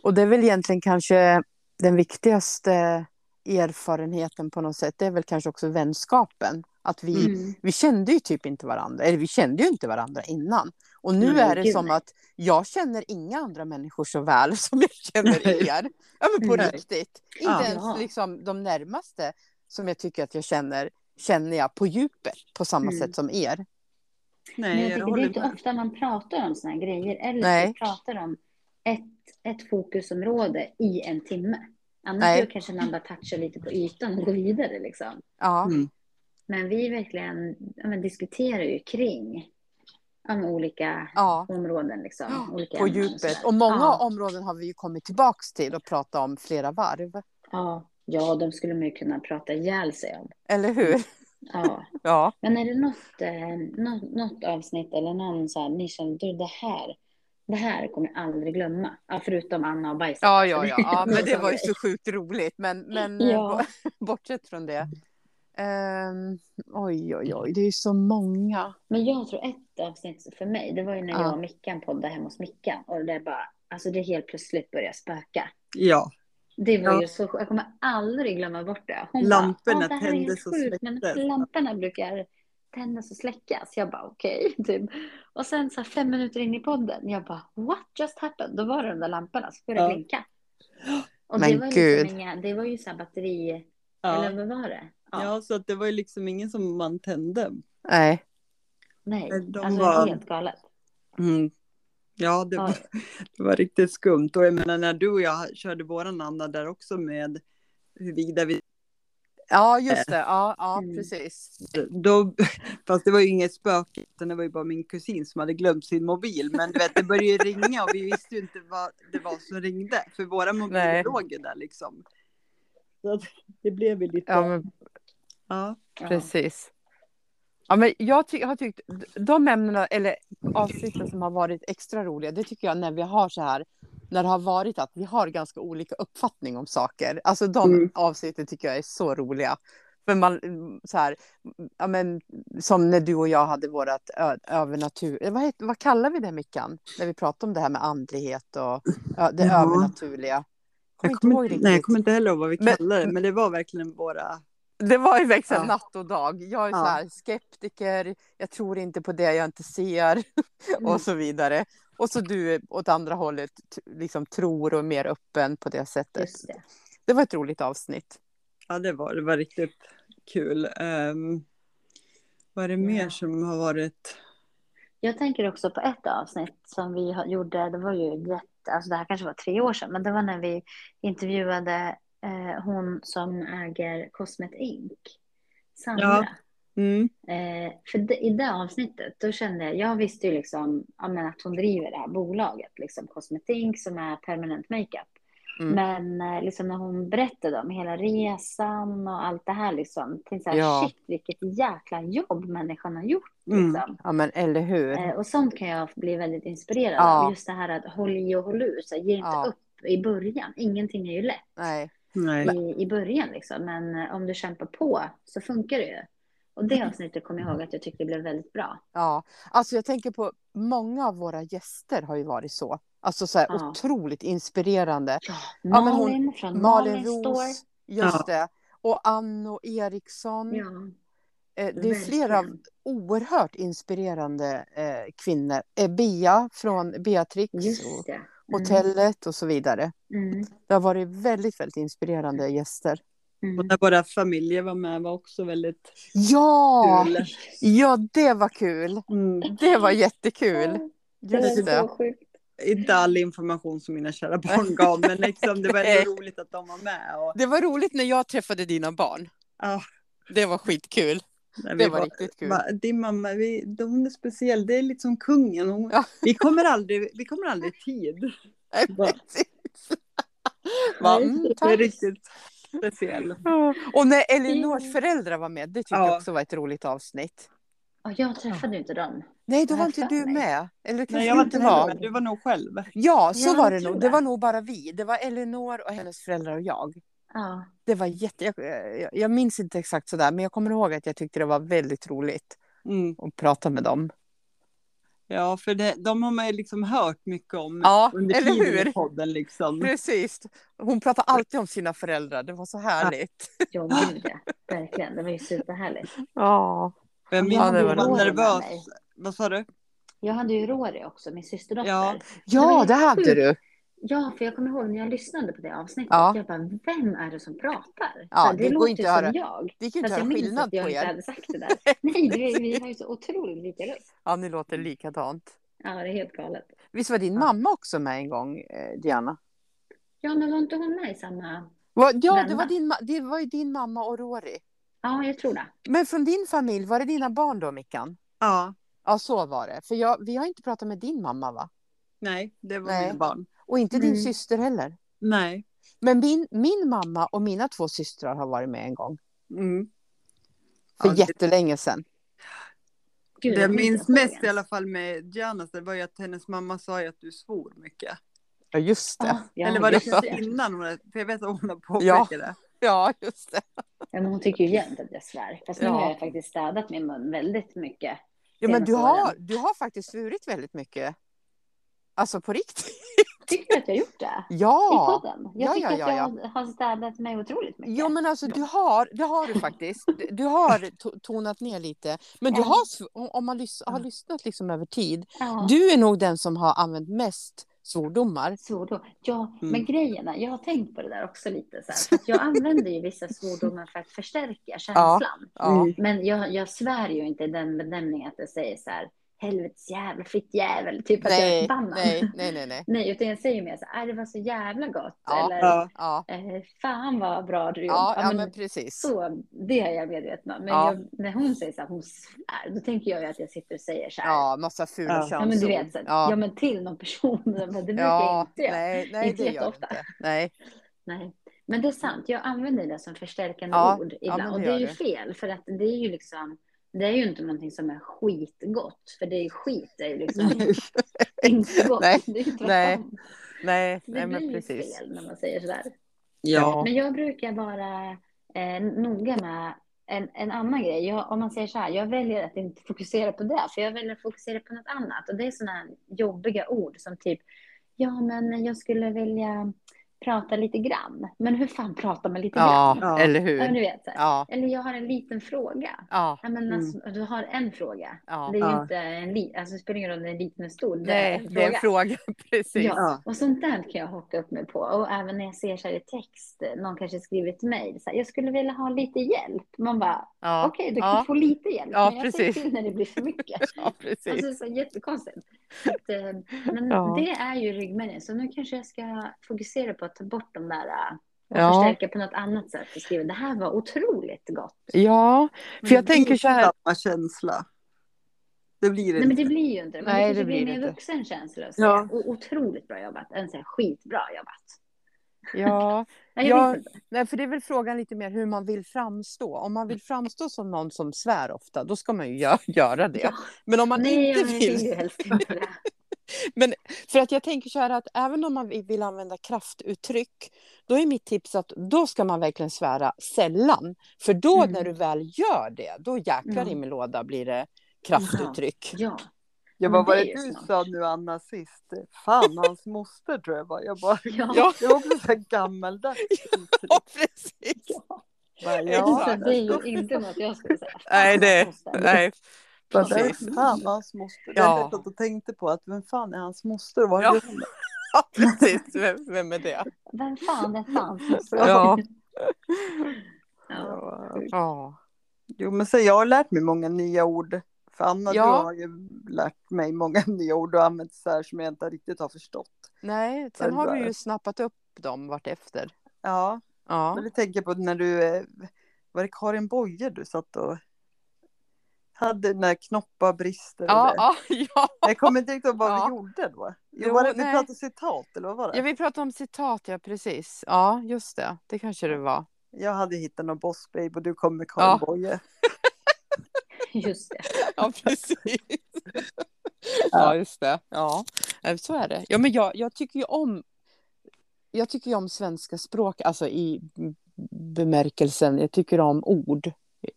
Och det är väl egentligen kanske den viktigaste erfarenheten på något sätt. Det är väl kanske också vänskapen. Att vi,
mm.
vi kände ju typ inte varandra. Eller vi kände ju inte varandra innan. Och nu
Nej,
är det
Mm, gud,
som
nej.
att jag känner inga andra människor så väl som jag känner
Nej.
er. Ja men på
Nej.
riktigt. Inte
Ja.
Ja.
ens liksom de närmaste som jag tycker att jag känner känner jag på djupet på samma
Mm.
sätt som er.
Men
Nej,
jag
jag,
tycker det är
håller
inte
med.
ofta man pratar om sådana här grejer. Eller
Nej.
vi pratar om ett, ett fokusområde i en timme. Annars
Nej.
då kanske man bara touchar lite på ytan och går vidare. Liksom.
Ja.
Mm.
Men vi verkligen ja, men diskuterar ju kring ja, men olika
ja.
områden. Liksom,
Ja,
olika
på
ämnen och
djupet.
sådär.
Och många
ja,
områden har vi ju kommit tillbaka till och pratat om flera varv.
ja, ja, de skulle man ju kunna prata ihjäl sig om.
Eller hur?
Ja.
Ja.
Men är det något, eh, något, något avsnitt eller någon så här, ni känner du det här, det här kommer jag aldrig glömma? Ja, förutom Anna och bajset.
Ja, ja, ja. ja men det var ju så sjukt roligt. Men, men eh,
Ja.
bo- bortsett från det. Ehm, oj, oj, oj. Det är ju så många.
Men jag tror ett avsnitt för mig, det var ju när
Ja.
jag och Mickan poddade hemma hos Mickan och det bara, alltså det helt plötsligt började spöka.
Ja,
Det var
Ja.
ju så sjukt. jag kommer aldrig glömma bort det. Hon
Lamporna
bara, "Ja, det här är helt
tändes och
sjukt, men
släcktes."
Lamporna brukar tändas och släckas. Jag bara okej. Typ. Och sen så här, fem minuter in i podden, jag bara what just happened? Då var det de där lamporna som började
Ja.
blinka. Och det
Men
var, ju liksom
gud.
inga, det var ju så här batteri, eller
ja.
vad var det? Ja,
ja, så att det var ju liksom ingen som man tände.
Nej.
nej,
De
alltså det
var-
var helt galet.
Mm. Ja, det
Ja,
var, det var riktigt skumt. Och jag menar, när du och jag körde våran Anna där också med huruvida vi...
Ja, just det. Ja, ja
Mm.
precis.
Då, fast det var ju inget spöke, utan det var ju bara min kusin som hade glömt sin mobil. Men du vet, det började ju ringa och vi visste ju inte vad det var som ringde. För våra mobiler
Nej.
låg ju där liksom. Så att det blev ju lite...
Ja, men
ja.
ja.
precis. Ja, men jag ty- har tyckt de ämnena eller avsnitten som har varit extra roliga, det tycker jag när vi har så här, när det har varit att vi har ganska olika uppfattning om saker. Alltså de
Mm.
avsnitten tycker jag är så roliga. För man, mm, så här, mm, ja, men, som när du och jag hade vårat ö- övernatur... eh, Vad, heter, vad kallar vi det, Mickan? När vi pratade om det här med andlighet och ö, det
Ja.
övernaturliga. Kommer
Jag
inte ihåg
kommer, inte-
riktigt.
nej, jag kommer inte heller ihåg vad vi
Men-
kallade det, men det var verkligen våra...
Det var ju verkligen
Ja.
natt och dag. Jag är
Ja.
så här skeptiker, jag tror inte på det jag inte ser
Mm.
och så vidare. Och så du åt andra hållet t- liksom tror och är mer öppen på det sättet.
Just det.
Det var ett roligt avsnitt.
Ja, det var det. var riktigt kul. Um, vad är det mer
Ja.
som har varit...
Jag tänker också på ett avsnitt som vi har- gjorde, det var ju jätte, alltså det här kanske var tre år sedan, men det var när vi intervjuade eh, hon som äger Cosmet Inc. Sandra.
Mm.
Eh, för det, i det avsnittet, då kände jag, jag visste ju liksom, ja, men att hon driver det här bolaget, liksom Cosmet Inc. som är permanent makeup.
Mm.
Men eh, liksom när hon berättade om hela resan och allt det här liksom, tänkte jag
Ja.
shit vilket jäkla jobb människan har gjort
Mm.
liksom.
Ja men eller hur.
Eh, Och sånt kan jag bli väldigt inspirerad
Mm. Ja.
av. Just det här att håll i och håll ut. Så här, ge inte
Ja.
upp i början. Ingenting är ju lätt
Nej.
Nej.
i, i början. Liksom. Men eh, om du kämpar på så funkar det ju. Och
Mm.
det avsnittet kommer jag ihåg att jag tyckte blev väldigt bra.
Ja. Alltså jag tänker på många av våra gäster har ju varit så. Alltså så här
Ja.
otroligt inspirerande.
Malin
men hon-
från
Malin
Malin Store.
Roos, just
Ja.
det. Och Anno Eriksson.
Ja,
Eh, Det är flera
verkligen.
oerhört inspirerande eh, kvinnor. Eh, Bea från Beatrix
Just
och
det. Mm.
hotellet och så vidare.
Mm.
Det har varit väldigt, väldigt inspirerande gäster.
Och
Mm.
när våra familjer var med var också väldigt
Ja!
kul.
Ja, det var kul.
Mm.
Det var jättekul.
Det var
Just
så
det.
sjukt.
Inte all information som mina kära barn gav, men liksom, det var
Nej.
ändå roligt att de var med. Och,
Det var roligt när jag träffade dina barn.
ja,
Det var skitkul.
när vi
Det var riktigt kul.
Va, din mamma, vi, de- hon är speciell. Det är lite som kungen. Hon,
Ja.
vi, kommer aldrig, vi kommer aldrig i tid.
Nej,
Va,
precis. Va, mm,
det är
tack.
riktigt speciell.
Och när Elinors föräldrar var med, det tyckte jag
Ja.
också var ett roligt avsnitt.
Och jag träffade ju inte dem.
Nej, då
Nej,
var inte
fan,
du
nej.
med. Eller kanske
Nej, jag var inte
inte
med,
var.
men du var nog själv.
Ja, så
Ja,
var
jag
det nog.
tror
Det
det.
var nog bara vi. Det var Elinor och hennes föräldrar och jag.
Ja.
Det var jätte... Jag, jag, jag minns inte exakt sådär, men jag kommer ihåg att jag tyckte det var väldigt roligt
Mm.
att prata med dem.
Ja, för det, de har man ju liksom hört mycket om
Ja,
under
eller
tiden
hur?
i podden.
Mm.
Liksom.
Precis. Hon pratar alltid om sina föräldrar. Det var så härligt.
Ja, gud ja. Verkligen. Det var ju superhärligt.
Ja.
Och Jag minns
Ja,
att
det
du
var
var
roligt.
nervös. Vad sa du?
Jag hade ju Rory också, min systerdotter.
Ja.
Ja, det hade du.
Ja, för jag kommer ihåg när jag lyssnade på det avsnittet.
Ja.
Jag bara, vem är det som pratar?
Ja,
Så
det går
låter
inte
ju
att
som
höra.
jag.
Det gick ju inte
Fast
att
jag
höra
minns
skillnad
att jag
på
inte
er.
hade sagt det där. Nej, vi, vi har ju så otroligt lika röst.
Ja, ni låter likadant.
Ja, det är helt galet.
Visst var din
Mm. Ja.
mamma också med en gång, eh, Diana?
Ja, men var inte hon med i samma...
Va- Ja, det
Vända.
var, din, ma- det var ju din mamma och Rory.
Ja, jag tror det.
Men från din familj, var det dina barn då, Mickan?
Ja.
Ja, så var det. För jag, vi har inte pratat med din mamma, va?
Nej, det var
Nej.
mina barn.
Och inte din
Mm.
syster heller.
Nej.
Men min, min mamma och mina två systrar har varit med en gång.
Mm.
För
Ja, det-
jättelänge sedan.
Gud,
Det jag
jag kommer inte
minns
ihåg
mest
ens.
i alla fall med Janas, det var ju att hennes mamma sa ju att du svor mycket.
Ja, just det.
Ja, ja,
Eller var det
just
precis innan? Hon, för jag vet att hon har
Ja.
påpekat det.
Ja, just det.
Ja, men hon tycker ju jämt att jag svär. Fast nu
Ja.
har jag faktiskt städat min mun väldigt mycket.
Ja, men du
Senaste
har,
åren.
du har faktiskt svurit väldigt mycket. Alltså på riktigt.
Tycker du att jag gjort det? I
Ja!
podden?
Ja,
Jag tycker
ja, ja,
att jag har städat mig otroligt mycket.
Jo, men alltså du har, det har du faktiskt. Du- Du har to- tonat ner lite. Men du
Ja.
har, sv- om- om man lys- har lyssnat liksom över tid,
ja.
du är nog den som har använt mest svordomar.
Svordom. Ja,
Mm.
men grejen är, jag har tänkt på det där också lite. Så här, för att jag använder ju vissa svordomar för att förstärka känslan.
Ja.
Mm.
Men jag, jag svär ju inte i den benämningen att jag säger så här, helvetes jävel, fitt jävel, typ att jag är
Nej,
förbannad.
nej, nej, nej, nej.
Nej, utan jag säger mer så här, "Aj, det var så jävla gott.
Ja.
Eller,
Ja.
Ja,
eh, fan vad bra du
ja,
jobbar.
ja men precis.
Så, det är jag medveten om. Men
Ja.
jag, när hon säger så här, hon svär, då tänker jag ju att jag sitter och säger så här.
Ja, massa fula
Ja.
könsord.
Ja, men du vet, så här, ja.
ja.
men till någon person, men det brukar
Ja,
jag inte göra.
nej, nej,
Inte
det gör du
jätteofta.
inte. Nej.
Nej. Men det är sant, jag använder det som förstärkande
Ja,
ord
ja,
ibland.
men det
och det
gör
är ju
du.
fel, för att det är ju liksom, det är ju inte någonting som är skitgott, för det är ju skit, det är ju liksom inte gott.
Nej,
det är ju tvärtom.
nej, nej,
Det
nej,
blir
men
ju
precis.
fel när man säger sådär.
Ja.
Men jag brukar vara eh, noga med en, en annan grej. Jag, om man säger så här, jag väljer att inte fokusera på det, för jag väljer att fokusera på något annat. Och det är sådana här jobbiga ord som typ, ja men jag skulle vilja prata lite grann. Men hur fan pratar man lite
Ja,
grann?
Ja.
eller
Ja, men
hur.
du vet, så här.
Ja,
Eller jag har en liten fråga.
ja,
Ja, men
Mm.
alltså, Du har en fråga.
ja.
Det är ju
Ja.
inte en li- alltså, det spelar ingen roll om den är liten eller stor. Det är
Nej,
en
det är
fråga.
en fråga. Precis.
Ja,
Ja.
och sånt där kan jag haka upp mig på. Och även när jag ser så här i text, eh, någon kanske skriver ett mejl, så här, jag skulle vilja ha lite hjälp. Man bara,
Ja,
okej, du
ja.
kan få lite hjälp,
Ja,
men jag säger
precis.
till när det blir för mycket.
ja precis.
Alltså, så jättekonstigt. Så Att, eh, men
Ja.
det är ju ryggmärgen, så nu kanske jag ska fokusera på att ta bort de där eh, och
Ja,
förstärka på något annat sätt och skriva, det här var otroligt gott.
ja, för jag
Men det
tänker
blir
så här.
Samma känsla. Det blir det
Nej, men
inte.
det blir ju inte det. Men
Nej,
det, kanske
det blir
blir en
det
mer
inte.
vuxen känsla att säga,
Ja.
"O- otroligt bra jobbat, än så här, skitbra jobbat.
Ja,
Nej, jag
Ja.
vet inte.
nej, för det är väl frågan lite mer hur man vill framstå. Om man vill framstå som någon som svär ofta, då ska man ju gö- göra det.
Ja.
Men om man
Nej,
inte
jag vill
vill.
ju helst inte det.
För att jag tänker så här att även om man vill använda kraftuttryck, då är mitt tips att då ska man verkligen svära sällan. För då
Mm.
när du väl gör det, då jäklar i
Ja.
min låda blir det kraftuttryck.
Ja.
Jag bara,
Men det
vad
är
är
ju
det du
smart.
sa nu Anna sist? Fan, hans moster tror jag bara. Jag bara
Ja.
Ja,
det var också så här gammaldags uttryck.
precis.
Bara,
Just
Ja,
det, det är ju inte något jag skulle säga.
Nej, det- Nej,
bara, där är
precis.
fan vad hans moster.
Ja.
Jag vet att jag tänkte på att vem fan är hans moster? Vad
Ja.
gör hon?
Ja, precis. Vem, vem är det?
Vem fan, det fanns.
Ja.
Ja.
Ja.
Ja.
Jo, men så jag har lärt mig många nya ord. För Anna,
Ja.
du har ju lärt mig många nya ord och använt så här som jag inte riktigt har förstått.
Nej, sen har du ju snappat upp dem vartefter.
Ja, men
Ja.
det tänker jag på när du, eh, var det Karin Boye du satt och hade när knoppar brister? och
Ja,
det?
ja, ja.
Jag kommer inte riktigt ihåg vad
Ja.
vi gjorde då. Jo,
Jo,
var det, vi
nej.
pratade citat eller vad var det?
ja, vi pratade om citat, ja precis. Ja, just det. Det kanske det var.
Jag hade hittat någon boss babe och du kom med Karin
Ja.
Boye.
Just det.
Ja, precis. Ja, just det. Ja, Eh, så är det. Ja, men jag, jag tycker ju om jag tycker ju om svenska språk, alltså i bemärkelsen, jag tycker om ord.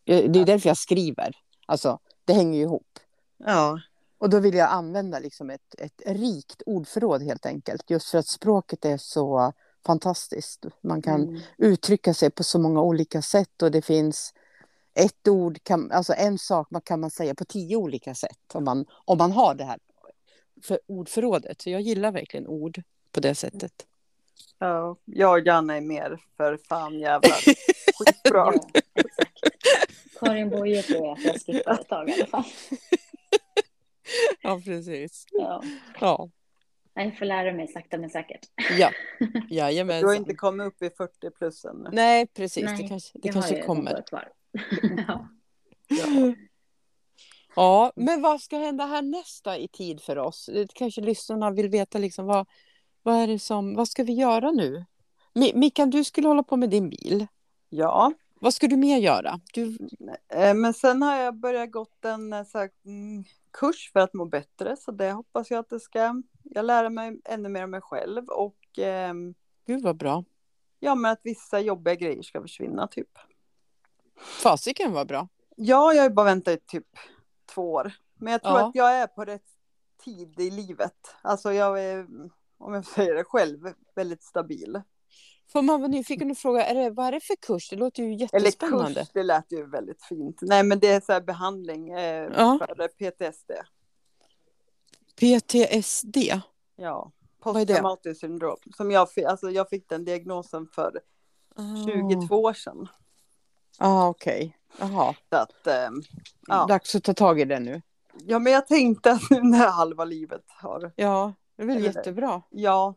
Jag- Det är därför jag skriver. Alltså, det hänger ju ihop.
Ja,
Och då vill jag använda liksom ett, ett rikt ordförråd helt enkelt. Just för att språket är så fantastiskt. Man kan
Mm.
uttrycka sig på så många olika sätt och det finns ett ord, kan, alltså en sak man kan man säga på tio olika sätt om man, om man har det här för ordförrådet. Så jag gillar verkligen ord på det sättet.
ja. jag och Janne är mer för fan jävlar. Skitbra.
Ja, exakt. Karin Boye tror jag att jag skippar ett tag i alla fall.
Ja, precis.
Ja.
Ja,
Jag får lära mig sakta men säkert.
ja.
Du har
jajamensan.
inte kommit upp i 40 plus ännu.
alltså. Nej, precis.
Nej,
det kanske, det
Jag har ju
kanske
ett
kommer. Mm.
år Kvar. ja.
Ja, men vad ska hända härnäst då i tid för oss? Det Kanske lyssnarna vill veta liksom vad, vad är det som, vad ska vi göra nu? Mi- Mickan, du skulle hålla på med din bil.
Ja,
Vad ska du mer göra? Du,
eh, men sen har jag börjat gått en eh, så här, mm, kurs för att må bättre, så det hoppas jag att det ska. Jag lär mig ännu mer om mig själv och ehm,
gud vad bra.
ja, men att vissa jobbiga grejer ska försvinna typ.
Fasiken var bra.
Ja, jag har ju bara väntat i typ två år. Men jag tror
Ja.
att jag är på rätt tid i livet. Alltså jag är, om jag säger det själv, väldigt stabil.
Får man vara nyfiken och fråga, är det, vad är det för kurs? Det låter ju
Eller
jättespännande.
kurs, det lät ju väldigt fint. Nej, men det är så här behandling eh,
Ja.
för PTSD.
PTSD.
Ja.
är det?
Posttraumatiskt syndrom. Som jag, fi- alltså jag fick den diagnosen för
Ah.
22 år sedan.
Ja, Ah. okej. Jaha.
Så att, ehm, ja.
Dags att ta tag i det nu.
ja, men jag tänkte att nu när halva livet har...
Ja, det är väl
Eller-
jättebra.
Ja.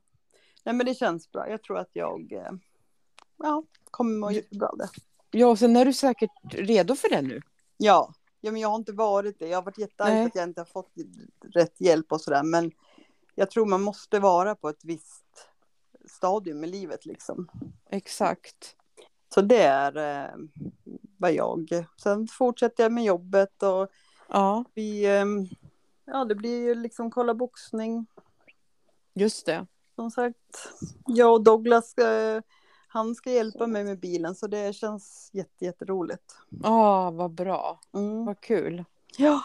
Nej, men det känns bra. Jag tror att jag eh, ja, kommer må jättebra av det.
Ja, och sen är du säkert redo för det nu.
Ja. ja, men jag har inte varit det. Jag har varit jättearg
Nej.
för att jag inte har fått rätt hjälp och sådär. Men jag tror man måste vara på ett visst stadium i livet liksom.
Exakt.
Så det är eh, vad jag... Sen fortsätter jag med jobbet och
Ja,
vi... Eh, ja, det blir ju liksom kolla boxning.
just det.
Som sagt, jag och Douglas, eh, han ska hjälpa mig med bilen så det känns jätte, jätteroligt.
Ja, Ah, vad bra.
Mm.
Vad kul.
Ja.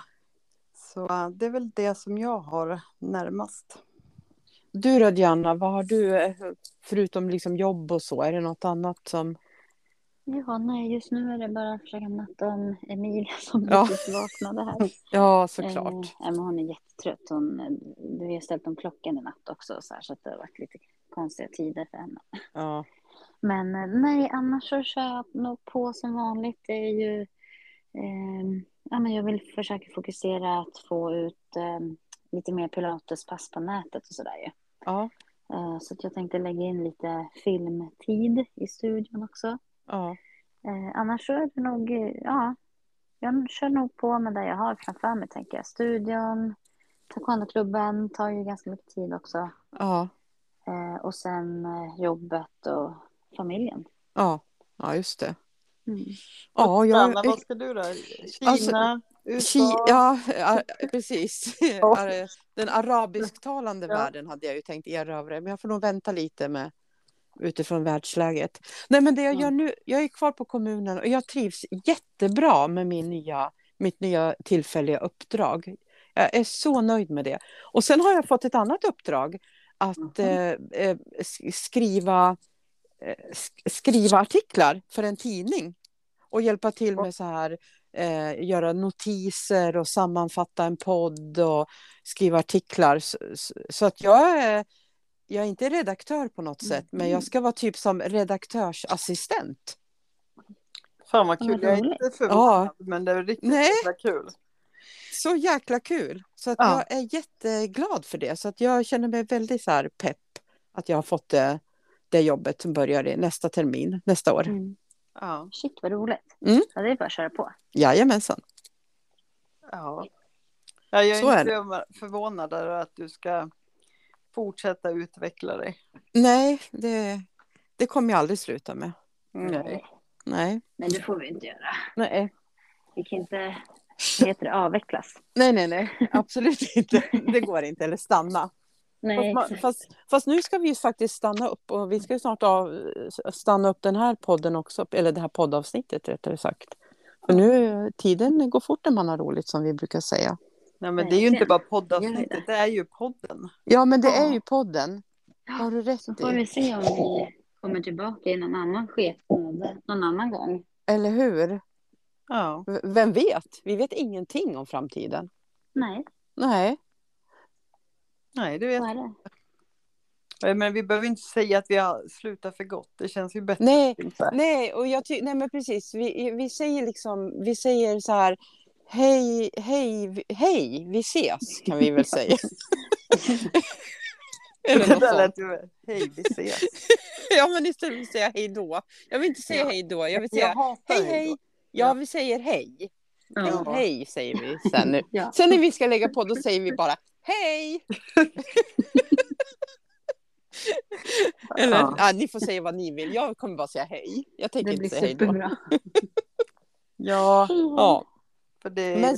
Så eh, det är väl det som jag har närmast.
Du då, Diana, vad har du, eh, förutom liksom jobb och så, är det något annat som...
ja, nej, just nu är det bara att försöka natta om Emilia som
Ja.
precis vaknade här.
Ja, Mm.
Eh, ja, men hon är jättetrött. Hon, eh, vi har ställt om klockan i natt också så, här, så att det har varit lite konstiga tider för henne.
Ja,
Men eh, nej, annars så kör jag nog på som vanligt. Det är ju, ehm, ja, men jag vill försöka fokusera att få ut ehm, lite mer pilatespass på nätet och sådär ju.
ja,
Eh, så att jag tänkte lägga in lite filmtid i studion också.
ja.
Eh, annars så är det nog, eh, ja, jag kör nog på med det jag har framför mig tänker jag. Studion, taekwondoklubben tar ju ganska mycket tid också.
ja.
Eh, och sen eh, jobbet och familjen.
Ja, ja just det.
Mm.
Ja, jag,
Anna, vad ska du då? Kina,
Alltså,
USA?
Ki- ja, ja, precis.
Ja.
Ar- Den arabisktalande
Ja.
världen hade jag ju tänkt erövra, men jag får nog vänta lite med utifrån världsläget. Nej, men det jag
Mm.
gör nu, jag är kvar på kommunen och jag trivs jättebra med min nya, mitt nya tillfälliga uppdrag. Jag är så nöjd med det. Och sen har jag fått ett annat uppdrag att eh, eh, sk- skriva, eh, sk- skriva artiklar för en tidning och hjälpa till med så här eh, göra notiser och sammanfatta en podd och skriva artiklar. Så, så- så att jag är, jag är inte redaktör på något sätt, men jag ska vara typ som redaktörsassistent.
Fan vad kul,
Vad
jag är
roligt.
inte förvånad men det är riktigt
Nej.
jävla kul.
Så jäkla kul! Så att
Ja.
jag är jätteglad för det. Så att jag känner mig väldigt så här pepp att jag har fått det, det jobbet som börjar i nästa termin, nästa
Mm.
år.
Ja.
Shit vad roligt.
Mm.
Ja, det är bara att köra på.
Jajamensan.
Ja. Ja, jag är
Så är
inte förvånad över att du ska fortsätta utveckla dig.
Nej, det, det kommer jag aldrig sluta med.
Nej.
Nej.
Men det får vi inte göra.
Nej.
Vi kan inte, vad heter det, avvecklas.
Nej, nej, nej, absolut inte. Det går inte. Eller stanna.
Nej,
Fast, man,
exakt.
fast, fast nu ska vi ju faktiskt stanna upp och vi ska ju snart av, stanna upp den här podden också, eller det här poddavsnittet rättare sagt. För nu, tiden går fort när man har roligt som vi brukar säga.
Nej, men det är ju inte
Verkligen.
bara
Gör det.
poddavsnittet, det är ju podden.
Ja, men det
Ja.
är ju podden. Har du rätt
Så får
i.
vi se om vi kommer tillbaka i någon annan skepnad någon annan gång.
Eller hur?
Ja.
V- Vem vet? Vi vet ingenting om framtiden.
Nej,
Nej,
Nej, du vet.
så är det.
Eh, Men vi behöver inte säga att vi har slutat för gott. Det känns ju bättre.
nej,
inte.
nej, och jag ty- nej men precis. Vi, vi säger liksom, vi säger så här, hej, hej, vi- hej, vi ses kan vi väl säga. Eller
Det
något
där
sånt.
lät ju... Hej, vi ses.
Ja, men istället vill säga hej då. Jag vill inte säga
Ja.
hej då, jag vill
Jag
säga
hatar
hej
hej
hej.
då.
Ja,
Ja.
vi säger hej.
Ja.
Ja.
Hej säger vi sen nu.
Ja.
Sen när vi ska lägga på, då säger vi bara hej. Eller, ja.
Ja.
ni får säga vad ni vill. Jag kommer bara säga hej. Jag tänker
Det blir
inte säga hej då.
superbra.
Ja,
Ja.
för det...
Men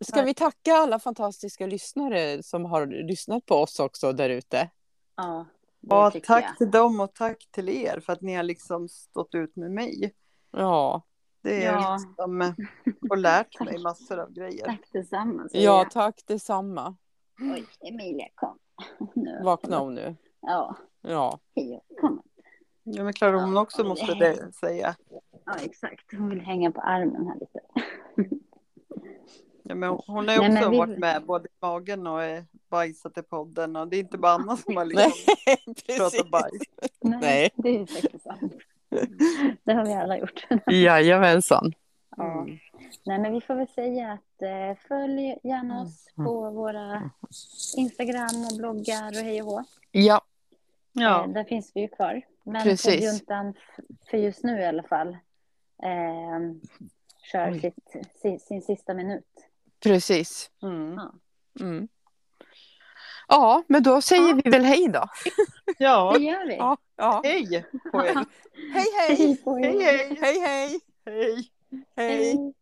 ska vi tacka alla fantastiska lyssnare som har lyssnat på oss också där ute?
Ja, det
ja,
tycker
tack
jag.
till dem och tack till er för att ni har liksom stått ut med mig.
Ja.
Det är
Ja.
liksom, eh, och lärt mig massor av grejer.
Tack detsamma. säger
ja, tack detsamma.
jag. Oj, Emilia kom. Nu.
Vakna om nu.
Ja,
Ja.
hej kom.
Ja, men Klara, hon också
Ja,
måste
det-
det säga.
Ja, exakt. Hon vill hänga på armen här lite.
Ja, men hon har ju
Nej, men
också
vi-
varit med både i magen och eh, bajsat i podden. Och det är inte bara Anna som har
Nej,
liksom
precis.
pratat bajs.
Nej.
Det är ju faktiskt sant. Det har vi alla gjort.
Jajamensan.
Ja.
Mm.
Mm.
Nej, men vi får väl säga att eh, följ gärna oss på våra Instagram och bloggar och hej och hå.
Ja,
Ja.
Eh, Där finns vi ju kvar. Men
Precis.
poddjuntan, f- för just nu i alla fall, eh, kör
Oj.
sitt, sin, sin sista minut.
precis.
Mm.
Mm. Ja, men då säger vi väl hej då.
Ja,
Det gör vi.
Ja, ja.
hej på er.
Hej, hej!
Hej på er.
Hej, hej! Hej, hej!
Hej.
Hej!